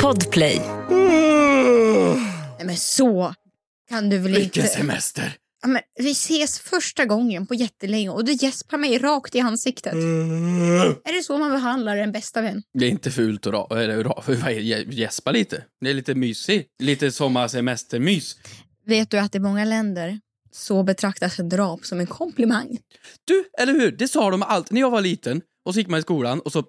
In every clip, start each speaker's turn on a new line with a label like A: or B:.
A: Podplay.
B: Nej, men så kan du väl
C: Vilken
B: inte...
C: semester!
B: Ja, men vi ses första gången på jättelänge och du gäspar mig rakt i ansiktet.
C: Mm.
B: Är det så man behandlar en bästa vän?
C: Det är inte fult att ra- eller ra- vad är det? gäspa lite. Det är lite mysigt. Lite sommarsemestermys.
B: Vet du att i många länder så betraktas en drap som en komplimang?
C: Du, eller hur? Det sa de allt. När jag var liten och så gick man i skolan och så,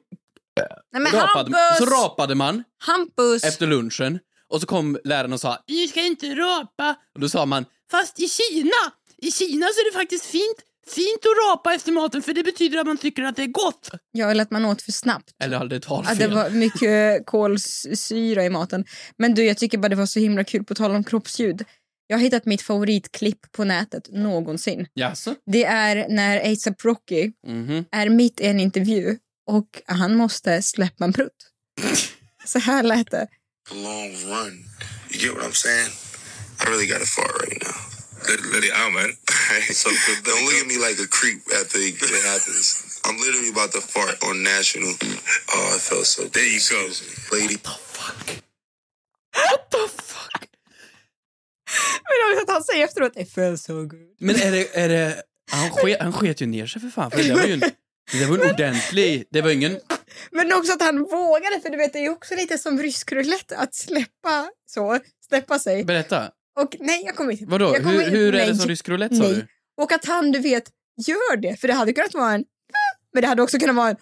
B: Nej, men
C: rapade, så
B: Hampus!
C: rapade man
B: Hampus!
C: efter lunchen. Och så kom läraren och sa “Du ska inte rapa”. Och då sa man “Fast i Kina, i Kina så är det faktiskt fint, fint att rapa efter maten för det betyder att man tycker att det är gott”.
B: Ja, eller att man åt för snabbt.
C: Eller hade det
B: Ja,
C: talfel.
B: det var mycket kolsyra i maten. Men du, jag tycker bara det var så himla kul, på tal om kroppsljud. Jag har hittat mitt favoritklipp på nätet någonsin.
C: Jaså?
B: Det är när ASAP Rocky
C: Mhm.
B: är mitt i en intervju och han måste släppa en prutt. Så här lät det.
D: a long run. You get what I'm saying? I really got to fart right now. Let, let it out, man. so don't look at me like a creep after it, it happens. I'm literally about to fart on national. Oh, I felt so. There you go, lady.
C: What the fuck?
B: Men jag vet att han säger efteråt, I felt so good.
C: Men är det... Är det han, ske, han sket ju ner sig för fan. För det var ju en, det var en ordentlig... Det var ingen...
B: Men också att han vågade, för du vet det är ju också lite som rysk roulette att släppa så, släppa sig.
C: Berätta.
B: Och nej, jag kommer inte
C: Vadå?
B: Jag kommer
C: Hur, hur är
B: nej.
C: det som rysk roulette sa
B: Nej.
C: du?
B: Och att han, du vet, gör det. För det hade kunnat vara en... Men det hade också kunnat vara en...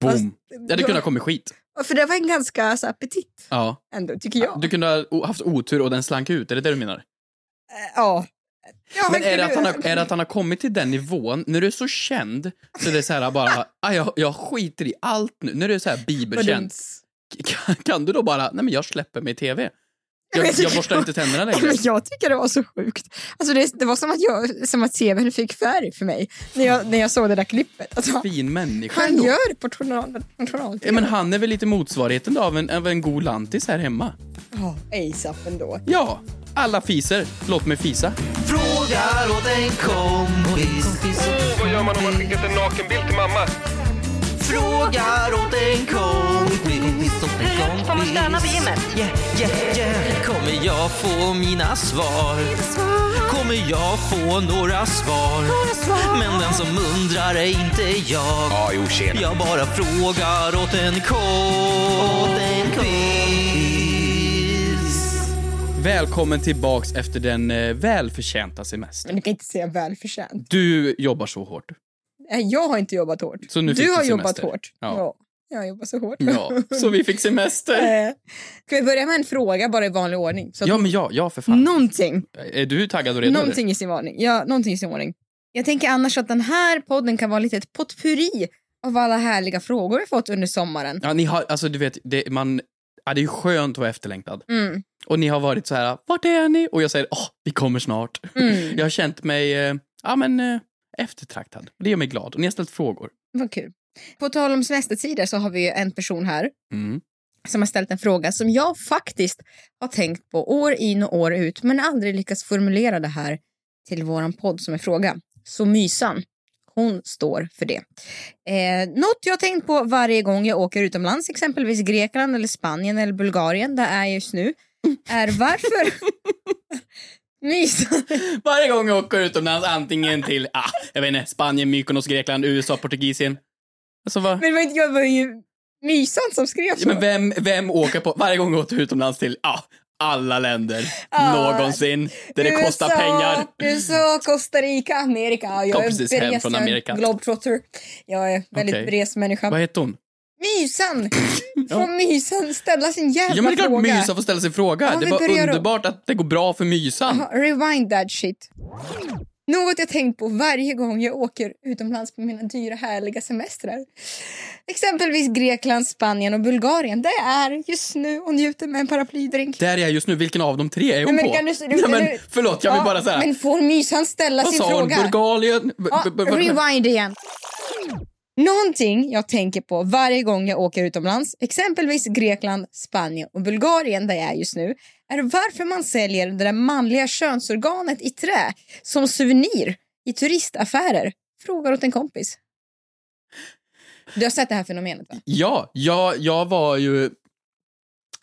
C: Boom.
B: Fast-
C: Det hade kunnat kommit skit.
B: För det var en ganska så här, petit,
C: Ja.
B: ändå, tycker jag.
C: Du kunde ha o- haft otur och den slank ut, är det det du menar?
B: Eh, Ja. ja
C: Men är
B: kunde-
C: det, att han har, är det att han har kommit till den nivån, när du är så känd, så det är så här bara, "Ah, jag, jag skiter i allt nu. När du är så här
B: Vad
C: bibelkänd, kan, kan du då bara, nej men jag släpper mig i tv.
B: Men
C: Jag,
B: jag tycker-
C: jag borstar inte tänderna
B: dumt.
C: längre.
B: Men jag tycker det var så sjukt. Alltså det, det var som att, jag, som att tvn fick färg för mig när jag, när jag såg det där klippet. Alltså,
C: Fin människa
B: han
C: ändå.
B: gör portonal... portonal
C: Ja, men han är väl lite motsvarigheten då av en, av en god lantis här hemma.
B: Ja, ASAP ändå.
C: Ja, alla fiser. Låt mig fisa.
E: Frågar åt en kompis.
F: Vad gör man om man skickat en nakenbild till mamma?
E: Frågar åt en kompis.
A: Får man stöna på gymmet?
E: Yeah, yeah, yeah. Kommer jag få mina svar? Kommer jag få några svar? Men den som undrar är inte jag.
F: Ja, jo, tjena.
E: Jag bara frågar åt en kompis.
C: Välkommen tillbaks efter den eh, välförtjänta semestern.
B: Men du kan inte säga välförtjänt.
C: Du jobbar så hårt.
B: Nej, Jag har inte jobbat hårt.
C: Så nu fick
B: du har
C: du
B: jobbat
C: semester.
B: hårt.
C: Ja.
B: Jag jobbar så hårt.
C: Ja, så vi fick semester.
B: Eh, Ska vi börja med en fråga bara i vanlig ordning? Så att
C: Ja, men ja, ja för fan.
B: någonting,
C: Är du taggad och redo? eller?
B: någonting i sin ordning. Ja, någonting i sin ordning. Jag tänker annars att den här podden kan vara lite ett potpurri av alla härliga frågor vi fått under sommaren.
C: Ja, ni har, alltså du vet, det, man, ja, det är ju skönt att vara efterlängtad.
B: Mm.
C: Och ni har varit så här, vart är ni? Och jag säger, åh, vi kommer snart.
B: Mm.
C: Jag har känt mig, eh, ja men, eh, eftertraktad. Det gör mig glad. Och ni har ställt frågor.
B: Vad kul. På tal om semestertider så har vi ju en person här
C: Mm.
B: som har ställt en fråga som jag faktiskt har tänkt på år in och år ut men aldrig lyckats formulera det här till våran podd som en fråga. Så Mysan, hon står för det. Eh, något jag har tänkt på varje gång jag åker utomlands, exempelvis Grekland eller Spanien eller Bulgarien, där är jag just nu, är varför... Mysan!
C: Varje gång jag åker utomlands, antingen till ah, jag vet inte, Spanien, Mykonos, Grekland, USA, Portugisien. Alltså, vad?
B: Men det var inte jag, det var ju Mysan som skrev
C: Ja,
B: så.
C: men vem, vem åker på... Varje gång jag åker utomlands till ah, alla länder
B: Ja.
C: Ah. någonsin, där det kostar pengar.
B: USA, Costa Rica, Amerika. Jag
C: Kom
B: är
C: precis hem
B: bres,
C: från
B: jag är
C: Amerika.
B: Globetrotter. Jag är väldigt
C: Okej.
B: bres
C: Vad
B: människa.
C: heter hon?
B: Mysan! Får Mysan ställa sin jävla
C: Ja, men det är klart
B: fråga?
C: Mysan får ställa sin fråga.
B: Ja,
C: det
B: vi
C: var
B: börjar då.
C: underbart att det går bra för Mysan.
B: Aha, Rewind that shit. Något jag tänkt på varje gång jag åker utomlands på mina dyra härliga semestrar. Exempelvis Grekland, Spanien och Bulgarien. Det är just nu och njuter med en paraplydrink.
C: Där är jag just nu. Vilken av de tre är hon
B: Nej, men
C: på?
B: kan du- du-
C: Nej, men,
B: du-
C: förlåt, jag vill
B: Ja,
C: bara säga.
B: Men får Mysan ställa
C: Vad
B: sin
C: sa hon?
B: fråga?
C: Bulgarien? B-
B: Ja,
C: b- b-
B: rewind igen. Någonting jag tänker på varje gång jag åker utomlands, exempelvis Grekland, Spanien och Bulgarien där jag är just nu, är varför man säljer det där manliga könsorganet i trä som souvenir i turistaffärer. Frågar åt en kompis. Du har sett det här fenomenet va?
C: Ja, jag, jag var ju...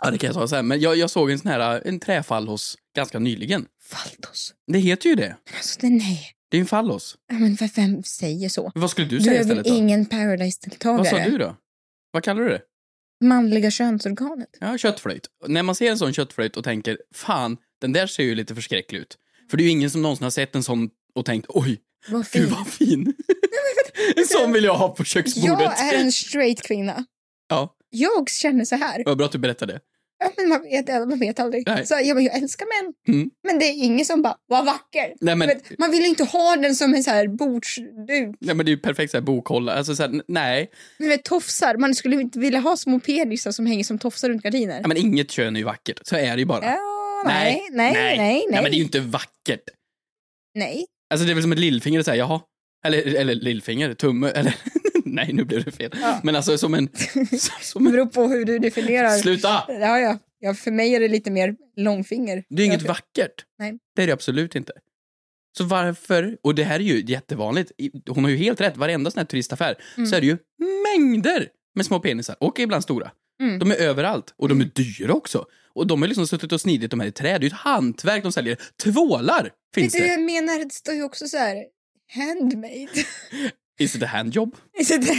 C: Ja, det kan jag säga sen. Men jag, jag såg en sån här, eh, en träfallos ganska nyligen.
B: Faltos.
C: Det heter ju det.
B: Men Alltså, det, nej.
C: Det är en fallos.
B: Ja, Men vem- vem säger så?
C: Men Vad skulle du
B: Du
C: säga
B: är väl
C: istället då?
B: ingen
C: Vad sa
B: Paradise-deltagare?
C: du då? Vad kallar du det?
B: Manliga könsorganet.
C: Ja, köttflöjt. När man ser en sån köttflöjt och tänker, fan, den där ser ju lite förskräcklig ut. För det är ju ingen som någonsin har sett en sån och tänkt, oj,
B: Vad
C: gud
B: fint.
C: vad fin. en sån vill jag ha på köksbordet.
B: Jag är en straight kvinna.
C: Ja,
B: Jag känner så här.
C: vad bra att du berättade.
B: Ja, men man, vet, man vet aldrig.
C: Nej.
B: Så jag, bara, jag älskar män.
C: Mm.
B: Men det är ingen som bara, vad vacker.
C: Nej, men-
B: Du vet, man vill ju inte ha den som en så här bordsduk.
C: Nej, men det är ju perfekt så här bokhålla. Alltså så här, n- nej.
B: Du vet, tofsar. Man skulle inte vilja ha små penisar som hänger som tofsar runt gardiner.
C: Ja, men inget kön är ju vackert. Så är det ju bara.
B: Ja, nej, nej, nej, nej.
C: nej men det är ju inte vackert.
B: nej.
C: Alltså det är väl som ett lillfinger att säga jaha. Eller, eller lillfinger, tumme, eller nej nu blev det fel.
B: Ja.
C: Men alltså som en... Som
B: Det
C: en
B: beror på hur du definierar.
C: sluta!
B: Ja, ja. ja, för mig är det lite mer långfinger.
C: Det är inget
B: Jag-
C: vackert.
B: Nej.
C: Det är det absolut inte. Så varför, och det här är ju jättevanligt, I- hon har ju helt rätt, varenda sån här turistaffär så är det ju mängder med små penisar och ibland stora.
B: Mm.
C: De är överallt och de är dyra också. Och de har liksom suttit och snidit de här i trä, det är ju ett hantverk de säljer. Tvålar
B: Vet
C: finns
B: du vad
C: det.
B: jag menar? Det står ju också så här, handmade.
C: Is it a handjob?
B: Is it that?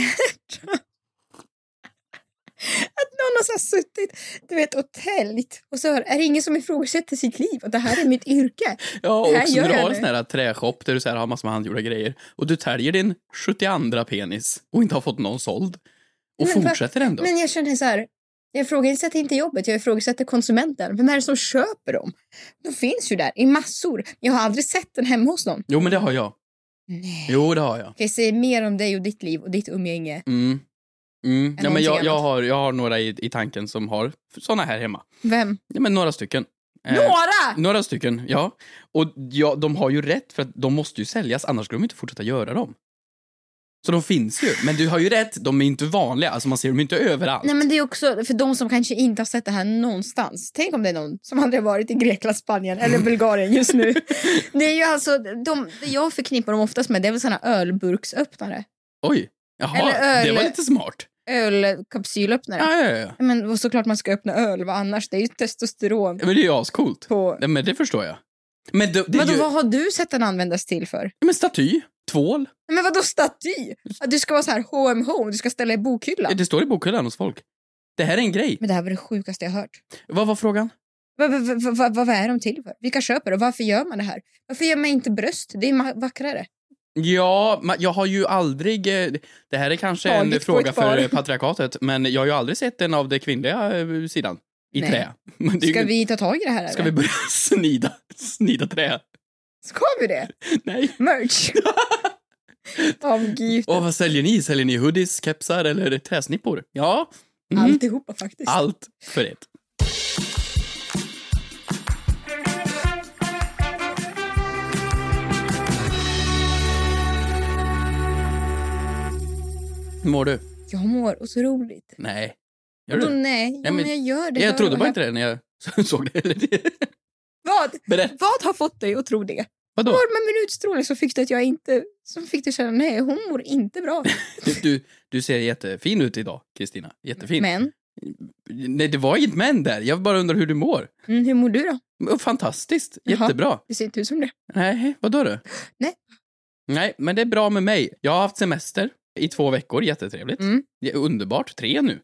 B: Att någon har så här suttit du vet, och täljt och så hör, är det ingen som ifrågasätter sitt liv och det här är mitt yrke.
C: Ja, och
B: Det här
C: också
B: gör
C: när du
B: jag
C: har en
B: nu.
C: sån här träshop där du så här har massor med handgjorda grejer och du täljer din 72 penis och inte har fått någon såld och
B: Men va-
C: fortsätter ändå.
B: Men jag känner så här, jag ifrågasätter inte jobbet, jag ifrågasätter konsumenten. Vem är det som köper dem? De finns ju där i massor. Jag har aldrig sett den hemma hos någon.
C: Jo, men det har jag.
B: Nej.
C: Jo, det har jag.
B: Okej, säg mer om dig och ditt liv och ditt umgänge.
C: Mm. Mm. Ja, men
B: någonting
C: jag, jag,
B: annat?
C: har, jag har några i, i tanken som har såna här hemma.
B: Vem?
C: Ja, men några stycken. Eh,
B: Några!
C: några stycken, ja. Och ja, de har ju rätt för att de måste ju säljas annars skulle de inte fortsätta göra dem. Så de finns ju. Men du har ju rätt, de är inte vanliga. Alltså man ser dem inte överallt.
B: Nej men det är också för de som kanske inte har sett det här någonstans. Tänk om det är någon som aldrig har varit i Grekland, Spanien eller Bulgarien just nu. det är ju alltså, de, det jag förknippar dem oftast med det är väl såna ölburksöppnare.
C: Oj. Jaha,
B: Eller
C: det var
B: öl.
C: lite smart.
B: Ölkapsylöppnare.
C: Ja, ja, ja.
B: Men och såklart man ska öppna öl, vad annars? Det är ju testosteron.
C: Men det är ju ascoolt.
B: På...
C: Nej, men det förstår jag. Men det, det är
B: Vadå,
C: ju...
B: vad har du sett den användas till för?
C: Men staty, tvål.
B: Men vadå staty? Att du ska vara så här H&M home, du ska ställa i bokhyllan.
C: Det står i bokhyllan hos folk. Det här är en grej.
B: Men det här var det sjukaste jag hört.
C: Vad var frågan?
B: Vad, vad, vad, vad, vad är de till för? Vilka köper och varför gör man det här? Varför gör man inte bröst? Det är ma- vackrare.
C: Ja, ma- jag har ju aldrig... eh, Det här är kanske
B: Tagit på
C: en
B: ett
C: fråga för
B: par.
C: eh, patriarkatet, men jag har ju aldrig sett en av det kvinnliga eh, sidan. I
B: Nej.
C: trä. Men det är ju-
B: Ska vi ta tag i det här?
C: ska vi
B: eller?
C: börja snida, snida trä?
B: Ska vi det?
C: Nej.
B: Merch! Av gud.
C: Och vad säljer ni? Säljer ni hoodies, kepsar eller träsnippor? Ja, Mhm.
B: Mm. Alltihopa faktiskt.
C: allt för ett. Hur mår du?
B: Jag mår otroligt.
C: Nej. Gör
B: Vadå
C: du?
B: nej? Ja,
C: men-
B: men jag gör det.
C: Jag
B: Hör
C: trodde
B: vad
C: bara
B: jag-
C: inte det när jag såg det. Eller det.
B: Vad?
C: Berätta.
B: Vad har fått dig att tro det?
C: Vadå?
B: Var med min utstrålning som fick dig att jag inte... Som fick dig känna nej, hon mår inte bra.
C: Du, Typ du, du ser jättefin ut idag, Kristina. Jättefin.
B: Men,
C: Nej, det var inget men där. Jag bara undrar hur du mår.
B: mm, hur mår du då?
C: Men Fantastiskt.
B: Jaha.
C: Jättebra.
B: Du ser inte ut som det.
C: Nej, vadå då?
B: Nej.
C: Nej, men det är bra med mig. Jag har haft semester i två veckor. Jättetrevligt.
B: Mm. Oh.
C: Det är underbart. Tre nu.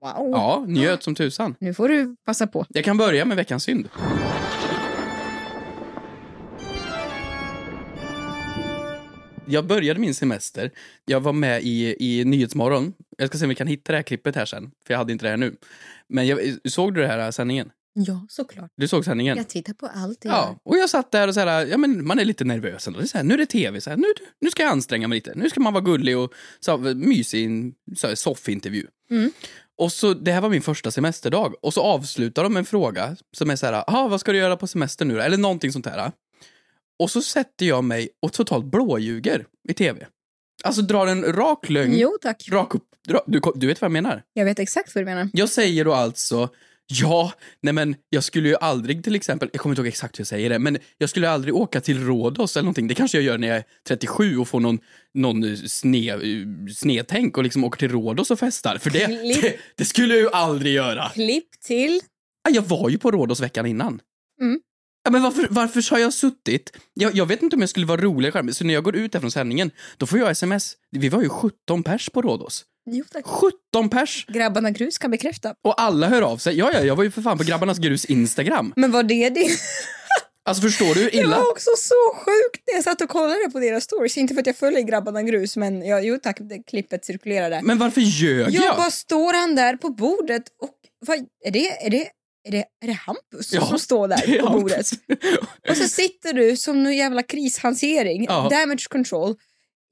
B: Wow.
C: Ja, njöt som tusan.
B: Nu får du passa på.
C: Jag kan börja med veckans synd. Jag började min semester. Jag var med i, i Nyhetsmorgon. Jag ska se om vi kan hitta det här klippet här sen, för jag hade inte det här nu. Men jag, såg du det här eh, sändningen?
B: Ja, såklart.
C: Du såg sändningen?
B: Jag tittar på allt det
C: Ja, och jag satt där och så här, ja men man är lite nervös ändå. Det är så här, nu är det tv, så här, nu, nu ska jag anstränga mig lite. Nu ska man vara gullig och så här, mysig i en så här, soffintervju.
B: Mm.
C: Och så, det här var min första semesterdag. Och så avslutar de med en fråga som är så här, ah, vad ska du göra på semester nu då? Eller någonting sånt här. Och så sätter jag mig och totalt blåljuger i tv. Alltså drar en rak lögn,
B: Jo tack.
C: rak upp. Dra, du, du vet vad jag menar?
B: Jag vet exakt vad du menar.
C: Jag säger då alltså Ja, nej men jag skulle ju aldrig till exempel, jag kommer inte ihåg exakt hur jag säger det, men jag skulle aldrig åka till Rhodos eller någonting. Det kanske jag gör när jag är 37 och får någon, någon eh, sne, eh, snedtänk och liksom åker till Rhodos och festar. För det,
B: Klipp.
C: det, det skulle jag ju aldrig göra.
B: Klipp till
C: Ja, Jag var ju på Rhodosveckan innan.
B: Mm.
C: Ja, men varför, varför har jag suttit? Jag, jag vet inte om jag skulle vara rolig i skärmen, så när jag går ut härifrån sändningen, då får jag sms. Vi var ju 17 pers på Rhodos.
B: Jo, tack.
C: 17 pers!
B: Grabbarna Grus kan bekräfta.
C: Och alla hör av sig. Ja, ja, jag var ju för fan på Grabbarnas Grus Instagram.
B: Men var det det?
C: Alltså förstår du hur
B: Det
C: illa?
B: var också så sjukt när jag satt och kollade på deras stories. Inte för att jag följer Grabbarna Grus, men jag, jo tack, det klippet cirkulerade.
C: Men varför ljög jag?
B: Ja, bara står han där på bordet och vad, är, det, är, det, är, det, är det Hampus
C: Ja,
B: som står där på bordet? Och så sitter du som någon jävla krishantering,
C: Ja.
B: damage control,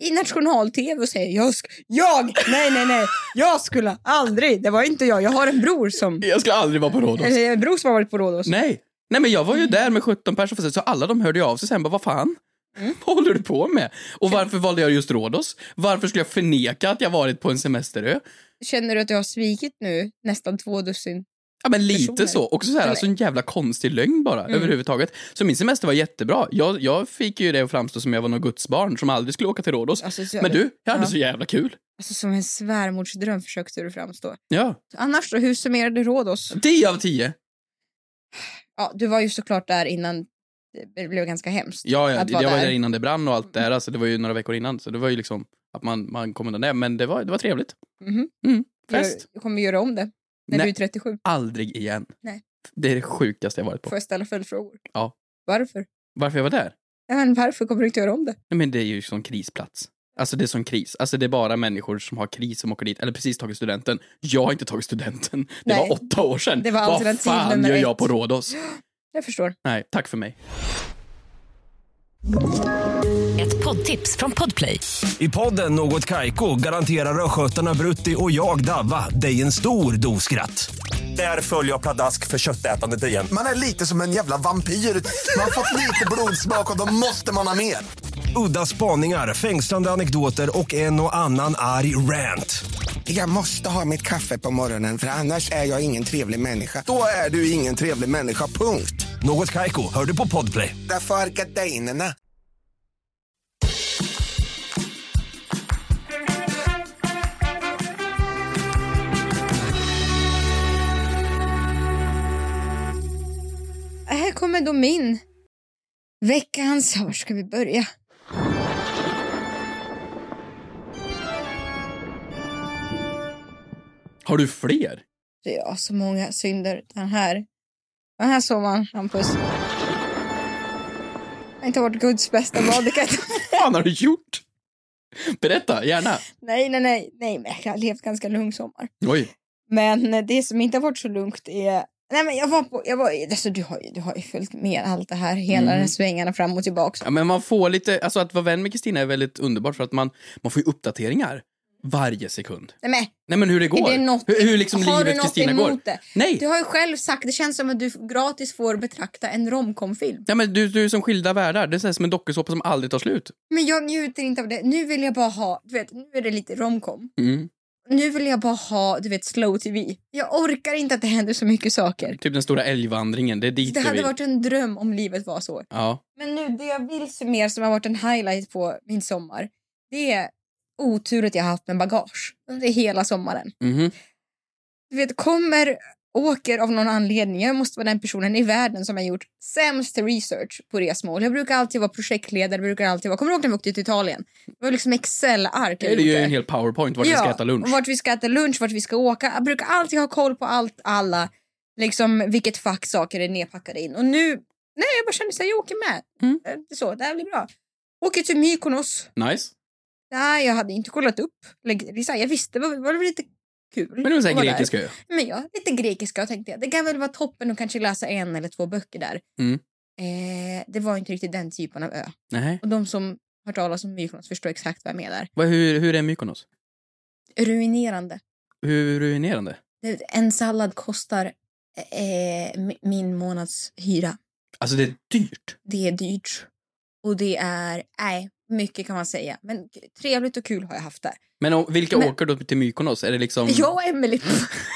B: i national-tv och säger jag, sk- jag, nej, nej, nej, jag skulle aldrig, det var inte jag, jag har en bror som,
C: Jag skulle aldrig vara på Rhodos.
B: eller en bror som har varit på Rhodos.
C: Nej. Nej, men jag var ju där med 17 personer, så alla de hörde ju av sig sen bara, vad fan?
B: Mm.
C: Vad håller du på med? Och varför valde jag just Rhodos? Varför skulle jag förneka att jag varit på en semesterö?
B: Känner du att jag har svikit nu nästan två dussin?
C: Ja, men lite
B: Personer. Mm.
C: så. Också så här,
B: Eller?
C: alltså en jävla konstig lögn bara, överhuvudtaget. Så min semester var jättebra. Jag, jag fick ju det att framstå som jag var något gudsbarn som aldrig skulle åka till Rhodos.
B: Alltså, så-
C: Men du, jag hade
B: Ja.
C: så jävla kul.
B: Alltså som en svärmordsdröm försökte du framstå.
C: Ja.
B: Annars då, hur summerade Rhodos?
C: 10 av 10.
B: Ja, du var ju såklart där innan det blev ganska hemskt.
C: Ja, ja
B: Att
C: jag
B: vara
C: var
B: där.
C: där innan det brann och allt det här. Alltså, det var ju några veckor innan, så det var ju liksom att man, man kom undan det. Men det var, det var trevligt.
B: Mhm.
C: Mm. Fest.
B: Jag kommer göra om det när
C: Nej.
B: du är 37.
C: Aldrig igen.
B: Nej.
C: Det är det sjukaste jag varit på.
B: Får jag ställa följdfrågor?
C: Ja.
B: Varför?
C: Varför jag var där?
B: Ja, men varför kommer du inte göra om det?
C: Nej, men det är ju sån krisplats. Alltså det är sån kris. Alltså det är bara människor som har kris som åker dit. Eller precis tagit studenten. Jag har inte tagit studenten. Det
B: Nej.
C: var åtta år sedan.
B: Det var
C: Vad
B: alternativ
C: fan
B: nummer
C: gör
B: ett.
C: jag på Rhodos?
B: Jag förstår.
C: Nej, tack för mig.
G: Ett poddtips från Podplay.
H: I podden Något Kaiko garanterar östgötarna Brutti och jag, Davva, dig en stor dos skratt. Där följer jag pladask för köttätandet igen.
I: Man är lite som en jävla vampyr. Man har fått lite blodsmak och då måste man ha mer.
H: Udda spaningar, fängslande anekdoter och en och annan arg rant.
I: Jag måste ha mitt kaffe på morgonen för annars är jag ingen trevlig människa. Då är du ingen trevlig människa, punkt.
H: Något Kaiko, hör du på Podplay.
I: Därför är gardinerna.
B: Här kommer då min. Veckans... Var ska vi börja?
C: Har du fler?
B: Det är så många synder den här. Den här såg man, Hampus. Jag har inte varit Guds bästa barn. det kan jag inte-
C: fan har du gjort? Berätta, gärna.
B: Nej, nej, nej, nej, men jag har levt ganska lugn sommar.
C: Oj.
B: Men det som inte har varit så lugnt är... Nej, men jag var på... Jag var, alltså, du, har, ju- du har ju följt med allt det här,
C: Mm.
B: hela den här svängarna fram och tillbaka.
C: Ja, men man får lite, alltså att vara vän med Kristina är väldigt underbart för att man, man får ju uppdateringar varje sekund.
B: Nej, men
C: Nej men hur det går.
B: Är det något-
C: hur, hur liksom
B: har du
C: livet
B: något
C: Kristina
B: emot
C: går.
B: det?
C: Nej.
B: Du har ju själv sagt, det känns som att du gratis får betrakta en romcom-film.
C: Nej, men du, du är som skilda världar. Det är så här som en dokusåpa som aldrig tar slut.
B: Men jag njuter inte av det. Nu vill jag bara ha, du vet, nu är det lite romcom.
C: Mm.
B: Nu vill jag bara ha, du vet, slow tv. Jag orkar inte att det händer så mycket saker.
C: Typ den stora älgvandringen. Det är dit
B: Det
C: du
B: hade
C: vill.
B: varit en dröm om livet var så.
C: Ja.
B: Men nu, det jag vill summera som har varit en highlight på min sommar, det är oturet jag har haft med bagage under hela sommaren.
C: Mhm.
B: Du vet, kommer, åker av någon anledning, jag måste vara den personen i världen som har gjort sämst research på resmål. Jag brukar alltid vara projektledare, brukar alltid vara, kommer du ihåg när vi åkte till Italien? Det var liksom Excel-ark
C: Det är ju en hel powerpoint vart vi ska äta lunch.
B: och Vart vi ska äta lunch, vart vi ska åka. Jag brukar alltid ha koll på allt, alla, liksom vilket fack saker är nedpackade in. Och nu, nej jag bara känner så här, jag åker med.
C: Mm.
B: Eh, Så, det här blir bra. Åker till Mykonos.
C: Nice.
B: Nej, jag hade inte kollat upp. Eller, det är så här, Jag visste, det var, var väl lite kul.
C: Men det var
B: att vara
C: såhär
B: där.
C: grekisk ö.
B: Men ja, lite grekiska tänkte jag. Det kan väl vara toppen att kanske läsa en eller två böcker där.
C: Mm.
B: Eh, det var inte riktigt den typen av ö.
C: Nej.
B: Och de som har hört talas om Mykonos förstår exakt vad jag menar.
C: Vad, hur, hur är Mykonos?
B: Ruinerande.
C: Hur ruinerande?
B: Det- En sallad kostar eh, mi- min månads hyra.
C: Alltså det är dyrt.
B: Det är dyrt. Och det är, nej, mycket kan man säga. Men k- trevligt och kul har jag haft där.
C: Men om, vilka
B: Men-
C: åker då till Mykonos? Är det liksom...
B: Jag och Emelie.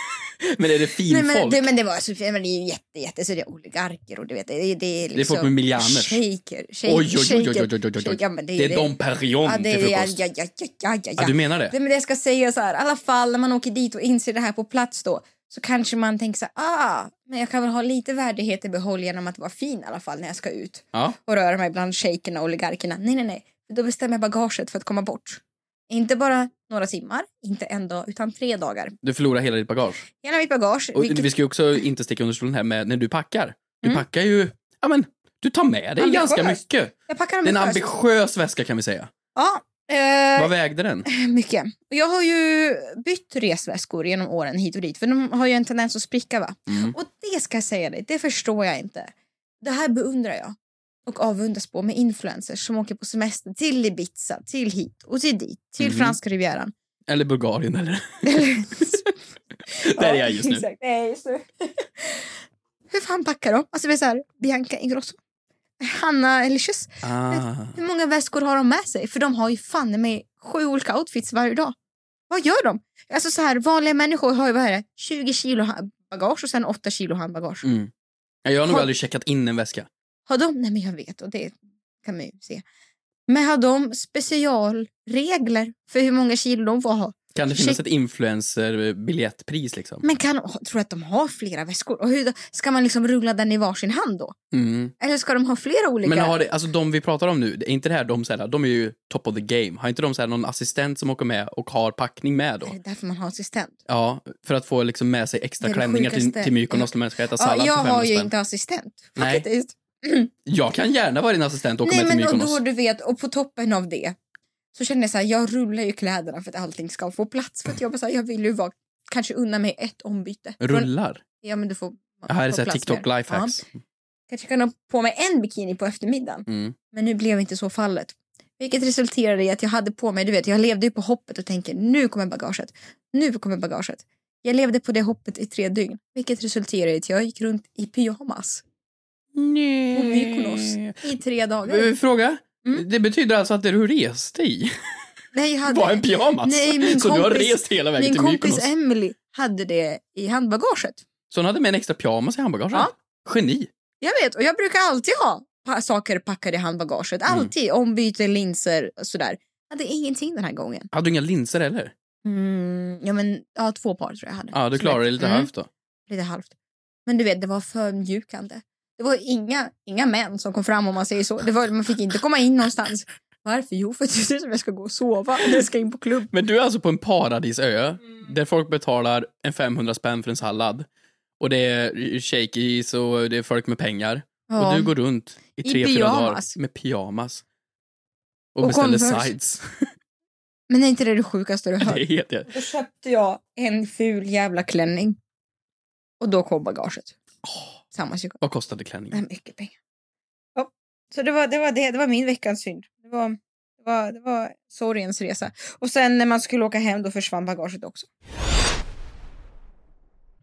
C: Men är det
B: Nej,
C: finfolk?
B: men, det, men det var så, men det är ju jätte, jätte, så det är oligarker och du vet, det, det, det är liksom...
C: folk med miljarder.
B: Shaker, shaker,
C: Oj, oj, oj, oj, oj, oj, oj, oj.
B: shaker. Ja, men
C: Det är Dom Perignon
B: ja, det,
C: till
B: är- ja,
C: frukost.
B: ja, ja, ja, ja, ja.
C: Ja, du menar det?
B: Nej, men det jag ska säga så här, i alla fall när man åker dit och inser det här på plats då så kanske man tänker så här, ah, men jag kan väl ha lite värdighet i behåll genom att vara fin i alla fall när jag ska ut
C: Ja.
B: och röra mig bland shejkerna och oligarkerna. Nej, nej, nej. Då bestämmer jag bagaget för att komma bort. Inte bara några timmar, inte en dag, utan tre dagar.
C: Du förlorar hela ditt bagage.
B: Hela mitt bagage.
C: Och
B: vilket-
C: Vi ska ju också inte sticka under stolen här med när du packar. Du
B: Mm.
C: packar ju, ja men, du tar med dig
B: Ambitiöst.
C: ganska mycket.
B: jag packar
C: Det är en
B: ambitiöst.
C: ambitiös väska kan vi säga.
B: Ja, eh,
C: Vad vägde den?
B: mycket. Och jag har ju bytt resväskor genom åren hit och dit. För de har ju en tendens att spricka va?
C: Mm.
B: Och det ska jag säga dig, det förstår jag inte. Det här beundrar jag och avundas på med influencers som åker på semester till Ibiza, till hit och till dit, till
C: Mhm.
B: franska rivieran.
C: Eller Bulgarien eller? Där är jag just nu.
B: Exakt, det är jag just nu. Hur fan packar de? Alltså det är så här, Bianca Ingrosso, Hanna Elicious.
C: Ah.
B: Hur många väskor har de med sig? För de har ju fan i mig sju olika outfits varje dag. Vad gör de? Alltså så här, vanliga människor har ju vad är det, 20 kilo ha- bagage och sen 8 kilo handbagage.
C: Mm. Ja, Jag har nog
B: Har-
C: aldrig checkat in en väska.
B: Har de, nej men jag vet och det kan man ju se. Men har de specialregler för hur många kilo de får ha?
C: Kan det finnas
B: Check-
C: ett influencer-biljettpris liksom?
B: Men kan de, tror att de har flera väskor? Och hur, ska man liksom rulla den i varsin hand då?
C: Mm.
B: Eller ska de ha flera olika?
C: Men har det, alltså de vi pratar om nu, är inte det här de såhär, de är ju top of the game. Har inte de såhär någon assistent som åker med och har packning med då?
B: Är det därför man har assistent?
C: Ja, för att få liksom med sig
B: Det
C: extra
B: är det
C: klänningar till,
B: sjukaste.
C: till Mykonos när man ska äta
B: Ja,
C: sallad
B: jag
C: för
B: har
C: 500
B: ju
C: spänn.
B: inte assistent.
C: Nej.
B: Faktiskt.
C: Jag kan gärna vara din assistent och åka
B: Nej
C: med till
B: men och
C: Mykonos.
B: då du vet, och på toppen av det så känner jag så här, jag rullar ju kläderna för att allting ska få plats. För att jag bara så här, jag vill ju vara, kanske unna mig ett ombyte. Från-
C: Rullar.
B: Ja men du får.
C: Ja, här är
B: får
C: såhär
B: plats
C: TikTok
B: mer.
C: lifehacks.
B: kanske kan ha på mig en bikini på eftermiddagen.
C: Mm.
B: Men nu blev inte så fallet. Vilket resulterade i att jag hade på mig, du vet, jag levde ju på hoppet och tänker nu kommer bagaget. Nu kommer bagaget. Jag levde på det hoppet i tre dygn. Vilket resulterade i att jag gick runt i pyjamas på Mykonos i tre dagar.
C: Eh, Fråga.
B: Mm.
C: Det betyder alltså att det du reste i
B: Nej, jag hade...
C: var en pyjamas?
B: Nej, min
C: så du har
B: kompis-
C: rest hela vägen
B: Min
C: till Mykonos?
B: kompis Emily hade det i handbagaget.
C: Så hon hade med en extra pyjamas i handbagaget?
B: Ja.
C: Geni.
B: Jag vet, och jag brukar alltid ha pa- saker packade i handbagaget.
C: Mm.
B: Alltid ombyte, linser och sådär. Jag hade ingenting den här gången.
C: Hade du inga linser heller?
B: Mm, ja, men, ja, två par tror jag hade.
C: Ja, du klarade dig lite
B: mm,
C: halvt då.
B: lite halvt. Men du vet, det var förmjukande. Det var inga, inga män som kom fram om man säger så. Det var, man fick inte komma in någonstans. Varför? Jo, för att det ser ut som jag ska gå och sova när jag ska in på klubb.
C: Men du är alltså på en paradisö
B: Mm.
C: där folk betalar en 500 spänn för en sallad. Och det är shakies och det är folk med pengar.
B: Ja.
C: Och du går runt i
B: I
C: tre, fyra
B: pyjamas.
C: dagar med pyjamas. Och,
B: Och
C: beställer
B: Converse.
C: sides.
B: Men är inte det det sjukaste du
C: det
B: hört?
C: är helt jävla-
B: Då köpte jag en ful jävla klänning. Och då kom bagaget. Samma sekund.
C: Vad kostade
B: Det
C: klänningen?
B: är mycket pengar. Ja. Så det var, det var det. Det var min veckans synd. Det var, det var, det var sorgens resa. Och sen när man skulle åka hem då försvann bagaget också.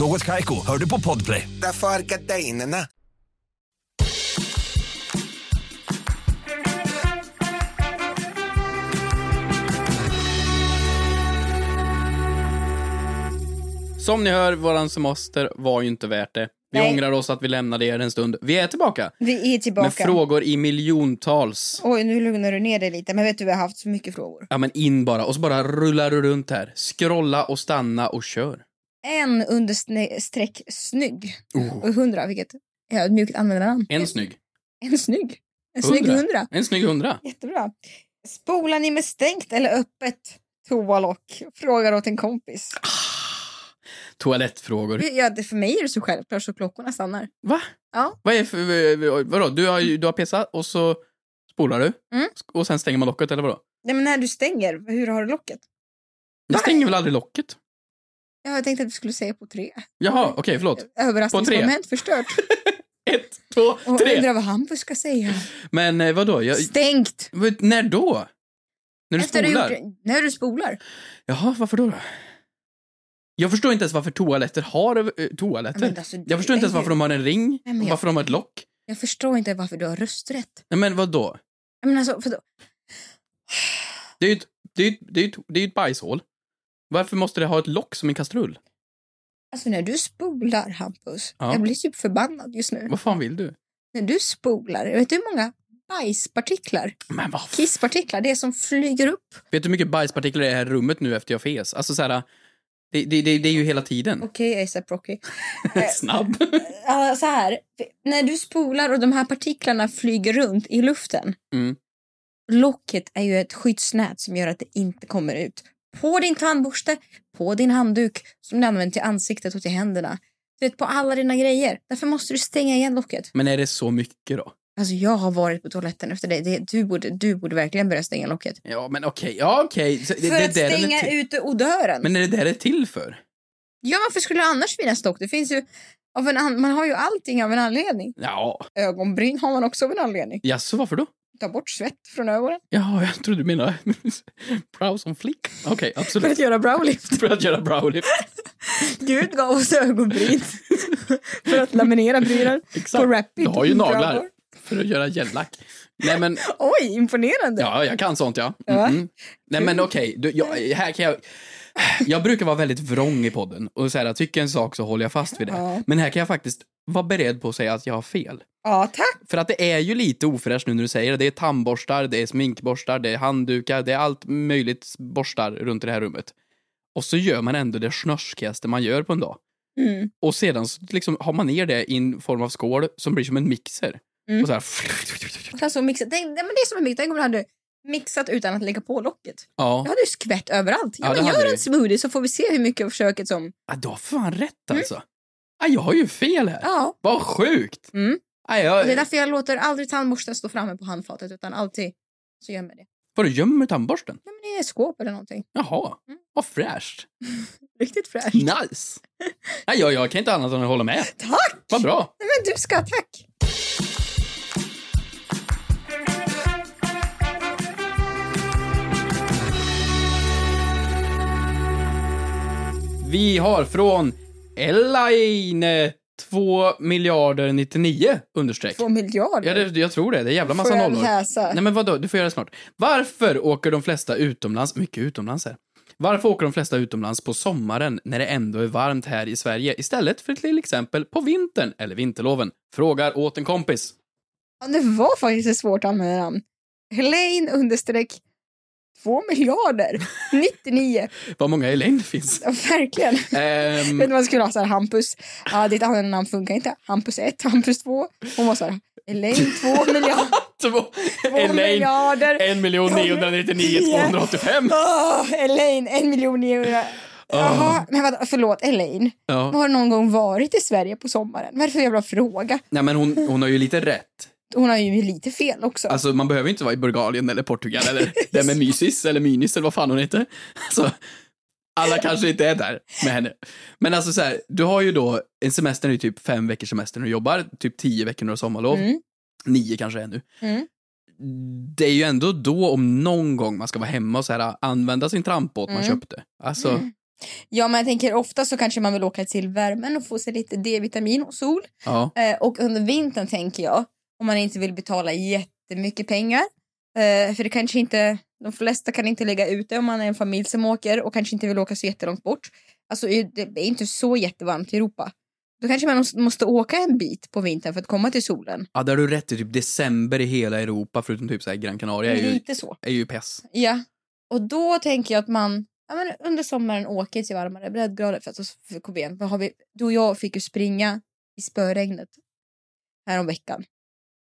H: Något Kaiko, hör du på Podplay.
I: Därför är gardinerna.
C: Som ni hör, våran semester var ju inte värt det. Vi
B: Nej.
C: ångrar oss att vi lämnade er en stund. Vi är tillbaka.
B: Vi är
C: Med
B: tillbaka.
C: frågor i miljontals.
B: Oj, nu lugnar du ner dig lite. Men vet du, vi har haft så mycket frågor.
C: Ja men in bara, och så bara rullar du runt här. Scrolla och stanna och kör.
B: En understreck snygg. Och hundra, vilket är ett mjukt användarnamn.
C: Oh. En snygg.
B: En snygg. En snygg
C: Hundra.
B: hundra.
C: En snygg hundra.
B: Jättebra. Spolar ni med stängt eller öppet toalock? Frågar åt en kompis.
C: Toalettfrågor.
B: Ja, det- för mig är det så självklart så klockorna stannar.
C: Va?
B: Ja.
C: Vad är för, vadå? Du har, ju- du har pissat och så spolar du.
B: Mm.
C: Och sen stänger man locket eller vadå?
B: Nej, men när du stänger, hur har du locket?
C: Jag stänger väl aldrig locket?
B: Ja, jag tänkte att vi skulle säga på tre.
C: Jaha,
B: Mm.
C: okej förlåt.
B: Överraskningsmoment förstört.
C: Ett, två,
B: Och
C: tre.
B: undrar vad Hampus ska säga.
C: Men eh, vadå? Jag,
B: Stängt!
C: vad- när då? När du
B: Efter du
C: spolar?
B: gjort- när du spolar.
C: Jaha, varför då? då? Jag förstår inte ens varför toaletter har eh,
B: Ja,
C: toaletter.
B: men alltså, du
C: jag förstår inte
B: är
C: ens varför
B: ju-
C: de har en ring,
B: men
C: och
B: jag-
C: varför de har ett lock.
B: Jag förstår inte varför du har rösträtt.
C: Nej men vadå?
B: Jag menar alltså, för då,
C: Det är ju ett, det är, ju ett- det är, ju ett- det är ju ett bajshål. Varför måste det ha ett lock som en kastrull?
B: alltså när du spolar, Hampus,
C: Ja.
B: jag blir typ förbannad just nu.
C: Vad fan vill du?
B: När du spolar, vet du hur många bajspartiklar,
C: Men vad f-
B: kisspartiklar, det är som flyger upp?
C: Vet du hur mycket bajspartiklar det är i det här rummet nu efter jag fes? Alltså såhär, det, det, det, det är ju hela tiden.
B: Okej, ASAP Rocky.
C: Snabb.
B: Ja, så här. När du spolar och de här partiklarna flyger runt i luften.
C: Mm.
B: Locket är ju ett skyddsnät som gör att det inte kommer ut. På din tandborste, på din handduk som du använder till ansiktet och till händerna. Du vet, på alla dina grejer. Därför måste du stänga igen locket.
C: Men är det så mycket då?
B: Alltså jag har varit på toaletten efter dig. Det, du, borde, du borde verkligen börja stänga locket.
C: Ja men okej, ja okej. Så Det,
B: För
C: det,
B: att
C: det är där den är
B: stänga
C: till-
B: ut odören.
C: Men är det där det är till för?
B: Ja, varför skulle det annars finnas dock? Det finns ju av en an... Man har ju allting av en anledning.
C: Ja,
B: Ögonbryn har man också av en anledning.
C: jaså varför då?
B: Ta bort svett från ögonen.
C: Jaha, jag trodde du menade brow som flick. Okej,
B: För
C: absolut.
B: att göra browlift.
C: För att göra browlift.
B: Gud gav oss ögonbryn. för att laminera brynen.
C: Exakt.
B: På Rapid.
C: Du har ju
B: Browler.
C: naglar. För att göra gellack. Nej men,
B: Oj, imponerande.
C: ja jag kan sånt ja.
B: Ja.
C: Mm, mm. Nej men okej, du, jag- här kan jag... Jag brukar vara väldigt vrång i podden och säga att tycker en sak så håller jag fast vid det.
B: Ja.
C: Men här kan jag faktiskt vara beredd på att säga att jag har fel.
B: Ja, tack.
C: För att det är ju lite ofräscht nu när du säger det. Det är tandborstar, det är sminkborstar, det är handdukar, det är allt möjligt borstar runt i det här rummet. Och så gör man ändå det snörskigaste man gör på en dag.
B: Mm.
C: Och sedan så liksom har man ner det i en form av skål som blir som en mixer.
B: Mm.
C: Och så här,
B: Och Alltså, mixa. Tänk, nej, men det är som en mix. Tänk om du hade mixat utan att lägga på locket.
C: ja.
B: Jag hade ju skvätt överallt.
C: Ja,
B: Ja,
C: det
B: men
C: hade
B: gör
C: du.
B: en smoothie så får vi se hur mycket av köket som...
C: ja, du har fan rätt alltså. Ja, jag har ju fel här.
B: Mm. Ja.
C: Vad sjukt!
B: Mm.
C: Ja,
B: Och det är
C: jag,
B: därför jag låter aldrig tandborsten stå framme på handfatet utan alltid så gömmer jag det.
C: Vad du gömmer tandborsten?
B: Nej, men det är skåp eller någonting.
C: Jaha,
B: Mm.
C: vad fräscht.
B: Riktigt fräscht.
C: Nice! Nej, jag, jag kan inte annat än att hålla med.
B: Tack!
C: Vad bra.
B: Nej, men du ska, tack!
C: Vi har från Elaine 2 miljarder 99 understreck.
B: Två miljarder.
C: Ja, det, jag tror det. Det är jävla massa
B: Får jag
C: nollor.
B: läsa?
C: Nej, men vadå? Du får göra det snart. Varför åker de flesta utomlands, mycket utomlands här, varför åker de flesta utomlands på sommaren när det ändå är varmt här i Sverige istället för till exempel på vintern eller vinterloven? Frågar åt en kompis.
B: Ja, det var faktiskt ett svårt användarnamn. Helene understreck två miljarder 99.
C: Vad många Elaine det finns.
B: Ja, verkligen.
C: Ehm,
B: Vet du vad man skulle ha? Så här, Hampus. Ja, ditt användarnamn funkar inte. Hampus 1, Hampus 2. Hon var så här. Helene 2 miljarder.
C: två,
B: Två
C: Elaine,
B: miljarder.
C: 1 999 285.
B: Åh, Elaine, en miljon 900. Jaha, men vadå, förlåt, Elaine.
C: Ja.
B: Har du någon gång varit i Sverige på sommaren? Vad är det för jävla fråga?
C: Nej, men hon, hon har ju lite rätt.
B: Hon har ju lite fel också.
C: Alltså man behöver inte vara i Bulgarien eller Portugal eller där med Mysis eller Mynis eller vad fan hon heter. Alltså, alla kanske inte är där med henne. Men alltså så här, du har ju då, en semester är ju typ fem veckors semester när du jobbar, typ tio veckor när du har sommarlov.
B: Mm.
C: Nio kanske är nu.
B: Mm.
C: Det är ju ändå då om någon gång man ska vara hemma och så här, använda sin trampbåt man
B: Mm.
C: köpte. Alltså,
B: Ja, men jag tänker ofta så kanske man vill åka till värmen och få sig lite D-vitamin och sol.
C: ja.
B: Eh, och under vintern tänker jag, om man inte vill betala jättemycket pengar. Eh, för det kanske inte, de flesta kan inte lägga ut det om man är en familj som åker och kanske inte vill åka så jättelångt bort. Alltså i- det är inte så jättevarmt i Europa. Då kanske man måste- måste åka en bit på vintern för att komma till solen.
C: ja, där har du rätt. Det är typ december i hela Europa förutom typ så här Gran Canaria är ju,
B: Lite så.
C: är ju pess.
B: Ja. Och då tänker jag att man ja, men under sommaren åker till varmare breddgrader. För att oss- för Koben, vad har vi? Du och jag fick ju springa i spöregnet häromveckan.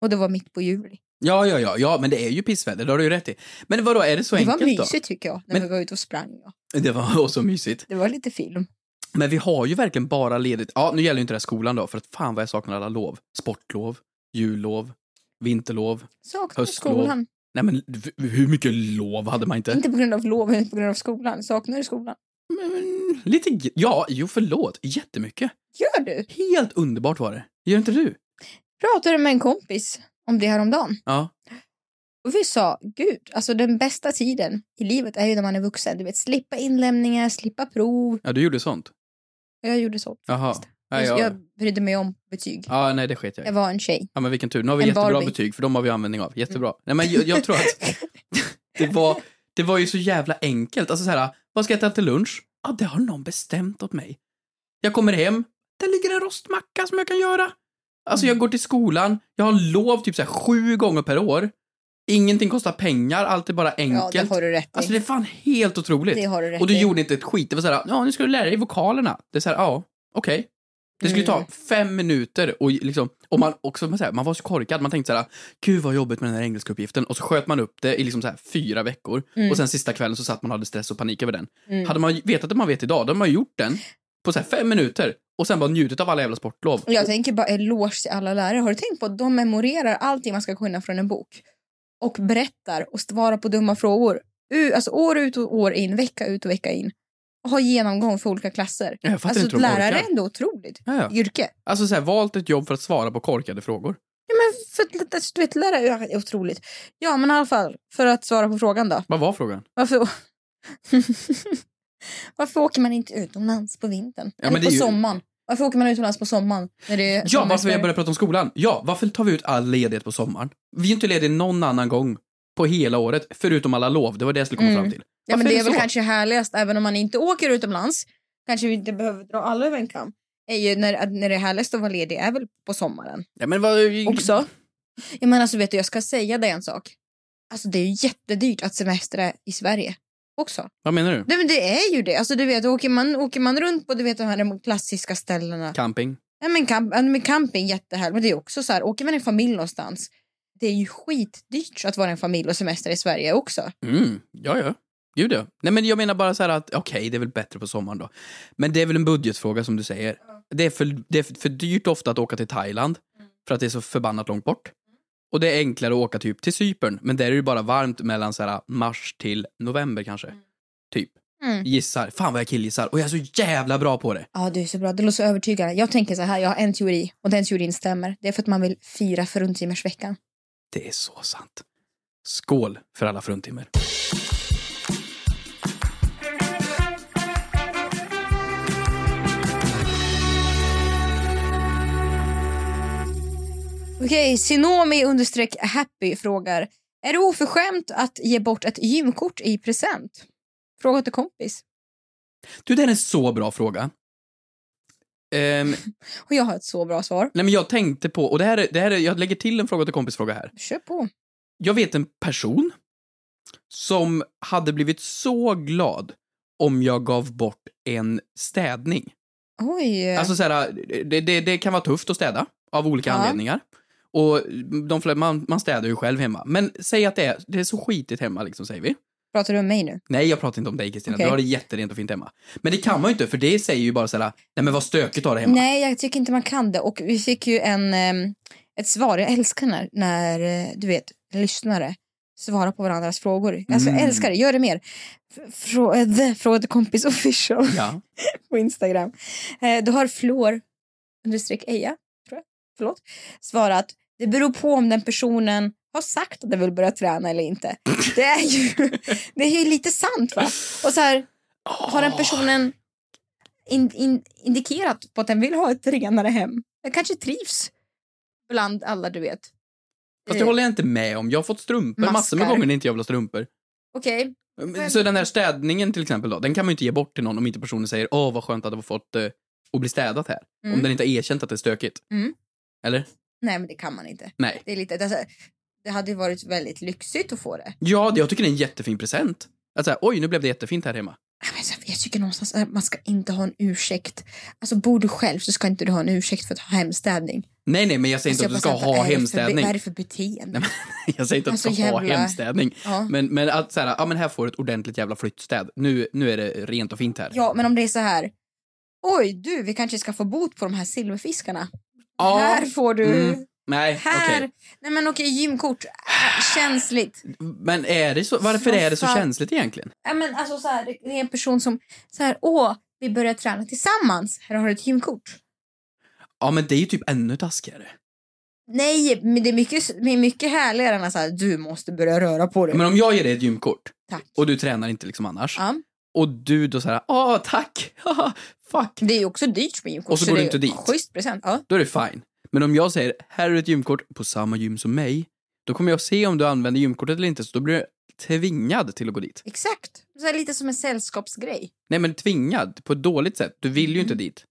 B: Och det var mitt på juli.
C: Ja, ja, ja, ja, men det är ju pissväder, det har du ju rätt i. Men vadå, är det så
B: Det var
C: enkelt
B: mysigt tycker jag när
C: Men-
B: vi var ute och sprang. Ja.
C: då? Det var också mysigt.
B: Det var lite film.
C: Men vi har ju verkligen bara ledigt, ja nu gäller ju inte det här skolan då, för att fan vad jag saknar alla lov. Sportlov, jullov, vinterlov.
B: Saknar du
C: Höstlov.
B: skolan.
C: Nej men v- hur mycket lov hade man inte?
B: Inte på grund av lov, utan på grund av skolan. Saknar du skolan?
C: Mm, lite, g- ja, jo förlåt, jättemycket.
B: Gör du?
C: Helt underbart var det. Gör inte du?
B: Pratade med en kompis om det häromdagen.
C: Ja.
B: Och vi sa, gud, alltså den bästa tiden i livet är ju när man är vuxen. Du vet, slippa inlämningar, slippa prov.
C: Ja, du gjorde sånt?
B: Och jag gjorde så.
C: Jaha. Ja,
B: jag,
C: ja.
B: jag brydde mig om betyg.
C: ja, nej det sket jag i.
B: Jag var en tjej.
C: Ja men vilken tur, nu har vi
B: En
C: jättebra
B: Barbie. Mm.
C: betyg för de har vi användning av. Jättebra. Nej men jag, jag tror att det var, det var ju så jävla enkelt. Alltså så här, vad ska jag äta till lunch? Ja, det har någon bestämt åt mig. Jag kommer hem, där ligger en rostmacka som jag kan göra. Alltså
B: Mm.
C: jag går till skolan, jag har lov typ så här sju gånger per år. Ingenting kostar pengar, allt är bara
B: Ja,
C: enkelt.
B: det har du rätt i.
C: Alltså det är fan helt otroligt.
B: Det har du rätt
C: Och du
B: i.
C: gjorde inte ett skit. Det var såhär, ja nu ska du lära dig vokalerna. Det är såhär, ja, okej. Det skulle ta fem minuter och liksom, och man också, man, så här, man var så korkad. Man tänkte såhär, gud vad jobbigt med den här engelskuppgiften. Och så sköt man upp det i liksom så här fyra veckor. Och sen sista kvällen så satt man och hade stress och panik över den.
B: Mm.
C: Hade man vetat det man vet idag, då hade man gjort den på så här fem minuter. Och sen bara njutit av alla jävla sportlov.
B: Och Jag tänker bara eloge till alla lärare. Har du tänkt på att de memorerar allting man ska kunna från en bok? Och berättar och svarar på dumma frågor. U- alltså år ut och år in, vecka ut och vecka in. Och har genomgång för olika klasser.
C: Jag fattar
B: Alltså
C: inte hur de
B: lärare är
C: orkar.
B: ändå otroligt.
C: Ja, ja.
B: Yrke.
C: Alltså såhär, valt ett jobb för att svara på korkade frågor.
B: Ja, men för, att- du vet, lärare är otroligt. Ja, men i alla fall, för att svara på frågan då.
C: Vad var frågan?
B: Varför, Varför åker man inte utomlands på vintern?
C: Ja, men
B: Eller
C: det är
B: på
C: ju-
B: sommaren? Varför åker man utomlands på sommaren? När det är
C: Ja,
B: sommar i
C: varför jag
B: Sverige?
C: börjar prata om skolan. Ja, varför tar vi ut all ledighet på sommaren? Vi är inte lediga någon annan gång på hela året, förutom alla lov. Det var det jag skulle komma
B: Mm.
C: fram till.
B: Ja, men
C: Varför
B: det
C: är
B: är
C: det
B: väl
C: så?
B: kanske härligast, även om man inte åker utomlands. Kanske vi inte behöver dra alla över en kam. Är ju när, att- när det är härligast att vara ledig är väl på sommaren
C: Ja, men vad...
B: också. Jag menar, alltså, vet du, jag ska säga dig en sak. Alltså det är ju jättedyrt att semestra i Sverige också.
C: Vad menar du?
B: Nej men det är ju det. Alltså du vet, åker man, åker man runt på du vet, de här klassiska ställena.
C: Camping.
B: Ja, men, camp, ja, men camping jättehärligt. Men det är också så här, åker man en familj någonstans. Det är ju skitdyrt att vara en familj och semester i Sverige också.
C: Mm, ja, ja. Gud ja. Nej, men jag menar bara så här att, okej, det är väl bättre på sommaren då. Men det är väl en budgetfråga som du säger. Det är för, det är för dyrt ofta att åka till Thailand, för att det är så förbannat långt bort. Och det är enklare att åka typ till Cypern, men där är det ju bara varmt mellan så här mars till november kanske. Typ.
B: Mm.
C: Gissar. Fan vad jag killgissar. Och jag är så jävla bra på det.
B: Ja, du är så bra. Du låter så övertygande. Jag tänker så här, jag har en teori och den teorin stämmer. Det är för att man vill fira fruntimmersveckan.
C: Det är så sant. Skål för alla fruntimmer.
B: Okej, Sinomi understreck happy frågar. Är det oförskämt att ge bort ett gymkort i present? Fråga till kompis.
C: Du, det här är en så bra fråga. Ehm,
B: Och jag har ett så bra svar.
C: nej men jag tänkte på, och det här, är, det här är, jag lägger till en fråga till kompisfråga här.
B: Kör på.
C: Jag vet en person som hade blivit så glad om jag gav bort en städning.
B: Oj.
C: Alltså så här, det, det, det kan vara tufft att städa av olika
B: Ja.
C: anledningar. Och de, fler- man, man städar ju själv hemma. Men säg att det är, det är så skitigt hemma, liksom, säger vi.
B: Pratar du om mig nu?
C: Nej, jag pratar inte om dig Kristina.
B: Okej.
C: Du har det jätterent och fint hemma. Men det kan man ju inte, för det säger ju bara såhär, nej men vad stökigt du har det hemma.
B: Nej, jag tycker inte man kan det. Och vi fick ju en, ehm, ett svar. Jag älskar när, när eh, du vet, lyssnare svarar på varandras frågor. Alltså jag
C: Mm.
B: älskar det, gör det mer. F- Frå, eh, the, fråga till kompis official
C: Ja.
B: på Instagram. Eh, då har Flor understreck Eja, tror jag, förlåt, svarat. Det beror på om den personen har sagt att den vill börja träna eller inte. Det är ju, det är ju lite sant va? Och så här, har den personen in, in, indikerat på att den vill ha ett renare hem? Den kanske trivs bland alla du vet. Eh,
C: Fast det håller jag inte med om. Jag har fått strumpor massor med
B: Maskar.
C: gånger när inte jag vill ha strumpor.
B: Okej,
C: Så den här städningen till exempel då, den kan man ju inte ge bort till någon om inte personen säger, åh vad skönt att du har fått eh, att bli städat här.
B: Mm.
C: Om den inte har erkänt att det är stökigt.
B: Mm.
C: Eller?
B: nej men det kan man inte.
C: Nej.
B: Det, är lite, alltså, det hade ju varit väldigt lyxigt att få det.
C: Ja, det- jag tycker det är en jättefin present. Att säga, oj nu blev det jättefint här hemma.
B: Nej, men så- Jag tycker någonstans att man ska inte ha en ursäkt. Alltså bor du själv så ska inte du ha en ursäkt för att ha hemstädning.
C: Nej, nej, men jag säger
B: Alltså,
C: inte
B: jag
C: att du
B: bara
C: ska
B: så här,
C: ha
B: vad är det för be-
C: hemstädning.
B: Vad är det för beteende?
C: Jag säger inte att du
B: Alltså,
C: ska ha
B: jävla-
C: hemstädning.
B: Ja.
C: Men, men att så här, ja men här får du ett ordentligt jävla flyttstäd. Nu, nu är det rent och fint här.
B: Ja, men om det är så här. Oj, du, vi kanske ska få bot på de här silverfiskarna.
C: Ja.
B: Här får du.
C: Mm. Nej,
B: Här.
C: okej.
B: Nej, men okej, gymkort. Äh, Känsligt.
C: Men är det så, varför
B: Vad
C: är det så
B: fan?
C: känsligt egentligen?
B: Ja, men alltså så här, det är en person som så här, åh, vi börjar träna tillsammans. Här har du ett gymkort.
C: Ja, men det är ju typ ännu taskigare.
B: Nej, men det är mycket, det är mycket härligare än att så här, du måste börja röra på dig.
C: Men om jag ger dig ett gymkort
B: Tack.
C: och du tränar inte liksom annars
B: Ja.
C: och du då såhär, ah tack, haha, fuck,
B: Det är ju också dyrt med gymkort.
C: Och så går
B: det
C: du inte
B: är
C: dit.
B: Schysst present. Ja.
C: då är det fine. Men om jag säger, här är ett gymkort på samma gym som mig, då kommer jag se om du använder gymkortet eller inte, så då blir du tvingad till att gå dit.
B: Exakt. Så här, lite som en sällskapsgrej.
C: Nej men tvingad, på ett dåligt sätt. Du vill ju inte
B: Mm.
C: dit.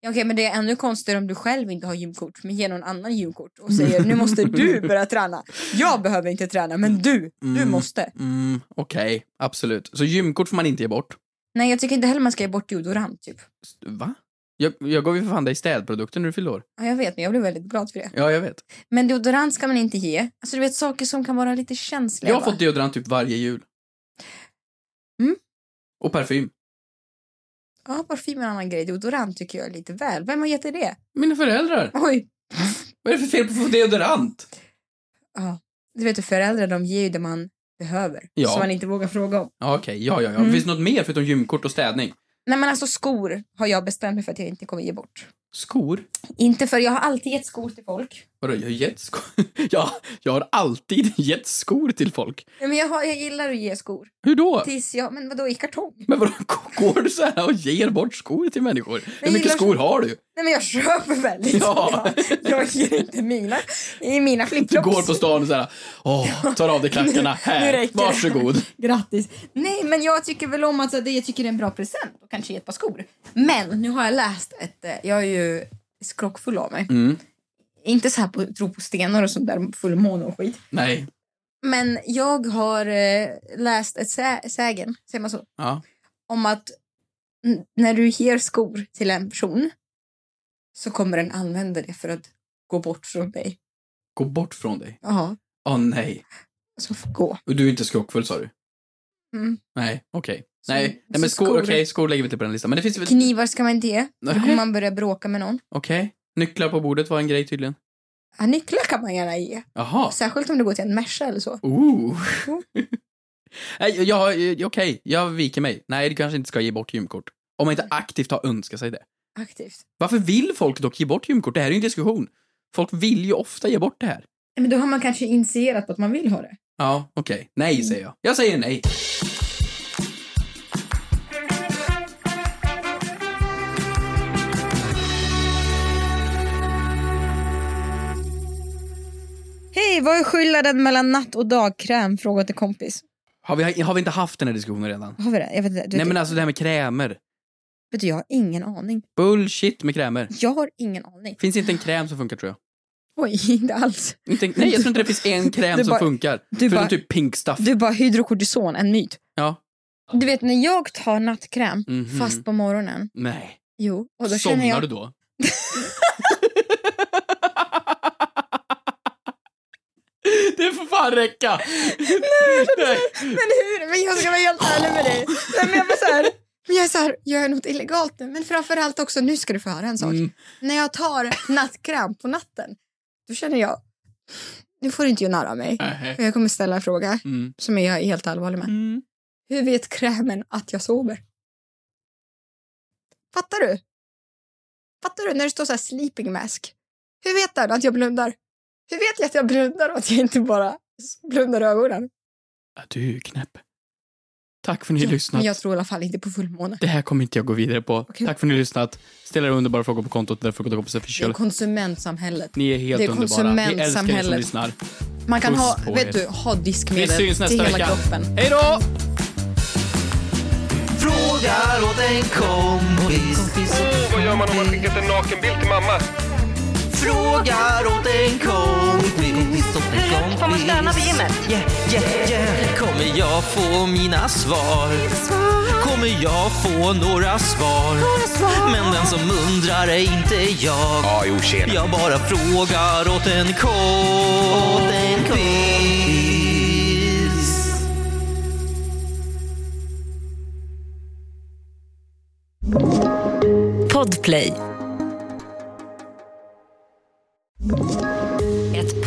B: Ja, Okej, men det är ännu konstigare om du själv inte har gymkort, men ger någon annan gymkort och säger nu måste du börja träna. Jag behöver inte träna, men du, du
C: Mm.
B: måste.
C: Mm, okej, absolut. Så gymkort får man inte ge bort.
B: Nej, jag tycker inte heller man ska ge bort deodorant typ.
C: Va? Jag, jag gav ju för fan dig städprodukter när du fyllde år.
B: Ja, jag vet, men jag blev väldigt glad för det.
C: Ja, jag vet.
B: Men deodorant ska man inte ge. Alltså du vet saker som kan vara lite känsliga.
C: Jag har
B: va?
C: fått deodorant typ varje jul.
B: Mm.
C: Och parfym.
B: Ja, parfym är en annan grej. Deodorant tycker jag är lite väl. Vem har gett dig det?
C: Mina föräldrar!
B: Oj!
C: Vad är det för fel på att få deodorant?
B: Ja. Du vet hur föräldrar de ger ju det man behöver.
C: Ja.
B: Som man inte vågar fråga om.
C: Ja, okej. Ja, ja, ja.
B: Mm.
C: Finns det något mer förutom gymkort och städning?
B: Nej men alltså skor har jag bestämt mig för att jag inte kommer ge bort.
C: Skor?
B: Inte för jag har alltid gett skor till folk.
C: Vadå, jag har gett skor? ja, jag har alltid gett skor till folk.
B: Ja, Men jag, har, jag gillar att ge skor.
C: Hur då?
B: Tills jag, men vadå i kartong?
C: Men vadå, går du så här och ger bort skor till människor? Hur mycket
B: gillar-
C: skor har du?
B: Nej men jag köper väl liksom.
C: Ja.
B: Jag, jag ger inte mina. I mina
C: Du
B: flipflops.
C: går på stan och såhär, åh, tar av dig klackarna,
B: Nu
C: här,
B: räcker det.
C: varsågod.
B: Grattis. Nej, men jag tycker väl om att så, det jag tycker det är en bra present och kanske ett par skor. Men nu har jag läst ett, eh, jag är ju skrockfull av mig.
C: Mm.
B: Inte så här på tro på stenar och sånt där fullmåne och skit.
C: Nej.
B: Men jag har eh, läst ett sä- sägen, säger man så,
C: Ja.
B: om att n- när du ger skor till en person så kommer den använda det för att gå bort från dig.
C: Gå bort från dig.
B: Ja,
C: Åh nej.
B: så får gå.
C: Och du är inte skrockfull sa du?
B: Mm.
C: Nej, okej.
B: Så-
C: Nej, nej, men
B: så
C: skor,
B: skor-
C: okej, skor lägger vi inte på den listan. Men det finns väl... Okej.
B: Knivar ska man inte ge, för då
C: Nej.
B: kommer man börja bråka med någon.
C: Nycklar på bordet var en grej tydligen.
B: Ja, nycklar kan man gärna ge.
C: Jaha.
B: Särskilt om det går till en Merca eller så.
C: Ooh. nej, jag, jag, okej, jag viker mig. Nej, du kanske inte ska ge bort gymkort. Om man
B: Mm.
C: inte aktivt har önskat sig det.
B: Aktivt.
C: Varför vill folk dock ge bort gymkort? Det här är ju en diskussion. Folk vill ju ofta ge bort det här.
B: Men då har man kanske initierat på att man vill ha det.
C: Ja, okej. Nej,
B: Mm.
C: säger jag. Jag säger nej.
B: Hej, vad är skillnaden mellan natt och dagkräm? Fråga till kompis.
C: Har vi, har vi inte haft den här diskussionen redan?
B: Har vi det? Jag vet inte. Du,
C: Nej, men alltså det här med krämer.
B: vet du, jag har ingen aning.
C: Bullshit med krämer.
B: Jag har ingen aning.
C: Finns inte en kräm som funkar tror jag.
B: Oj, inte alls.
C: Inte, nej, jag tror inte det finns en kräm
B: Du
C: som
B: bara-
C: funkar.
B: du
C: Förutom
B: bara-
C: typ pink stuff.
B: Du bara hydrokortison, en myt.
C: Ja.
B: Du vet när jag tar nattkräm
C: Mhm.
B: fast på morgonen.
C: Nej.
B: Jo, och
C: Somnar
B: då känner jag...
C: du då? det får fan räcka. Nej.
B: Men hur? Men jag ska vara helt ärlig med dig. Nej, men jag bara så här... Men jag är så här, gör jag något illegalt nu? Men framförallt också, nu ska du få höra en sak.
C: Mm.
B: När jag tar nattkräm på natten, då känner jag, nu får du inte göra narr av mig.
C: Nej.
B: Och Jag kommer ställa en fråga
C: Mm.
B: som jag är helt allvarlig med.
C: Mm.
B: Hur vet krämen att jag sover? Fattar du? Fattar du när det står så här sleeping mask? Hur vet den att jag blundar? Hur vet jag att jag blundar och att jag inte bara blundar ögonen?
C: Ja, Du är ju knäpp. Tack för att ni har lyssnat.
B: Men jag tror i alla fall inte på fullmåne.
C: Det här kommer inte jag gå vidare på.
B: Okej.
C: Tack för att ni har lyssnat. Ställa era underbara frågor på kontot där Frukost och kompisar
B: Det är
C: official.
B: konsumentsamhället.
C: Ni är helt
B: det är
C: underbara. Vi älskar er som
B: konsumentsamhället.
C: lyssnar.
B: Man kan
C: Puss
B: ha,
C: på er.
B: vet du, ha
C: Vi
B: diskmedel
C: syns nästa
B: till hela
C: vecka.
B: kroppen.
C: Hej då!
E: Frågar åt en kompis.
F: Åh, vad gör man om man skickat en nakenbild till mamma?
E: Frågar åt en kompis. Åt en kompis.
A: Får man stanna vid gymmet?
E: Yeah, yeah, yeah. Kommer jag få mina svar? Kommer jag få några svar? Men den som undrar är inte jag.
H: Ja, jo, tjena.
E: Jag bara frågar åt en kompis.
G: Podplay. Ett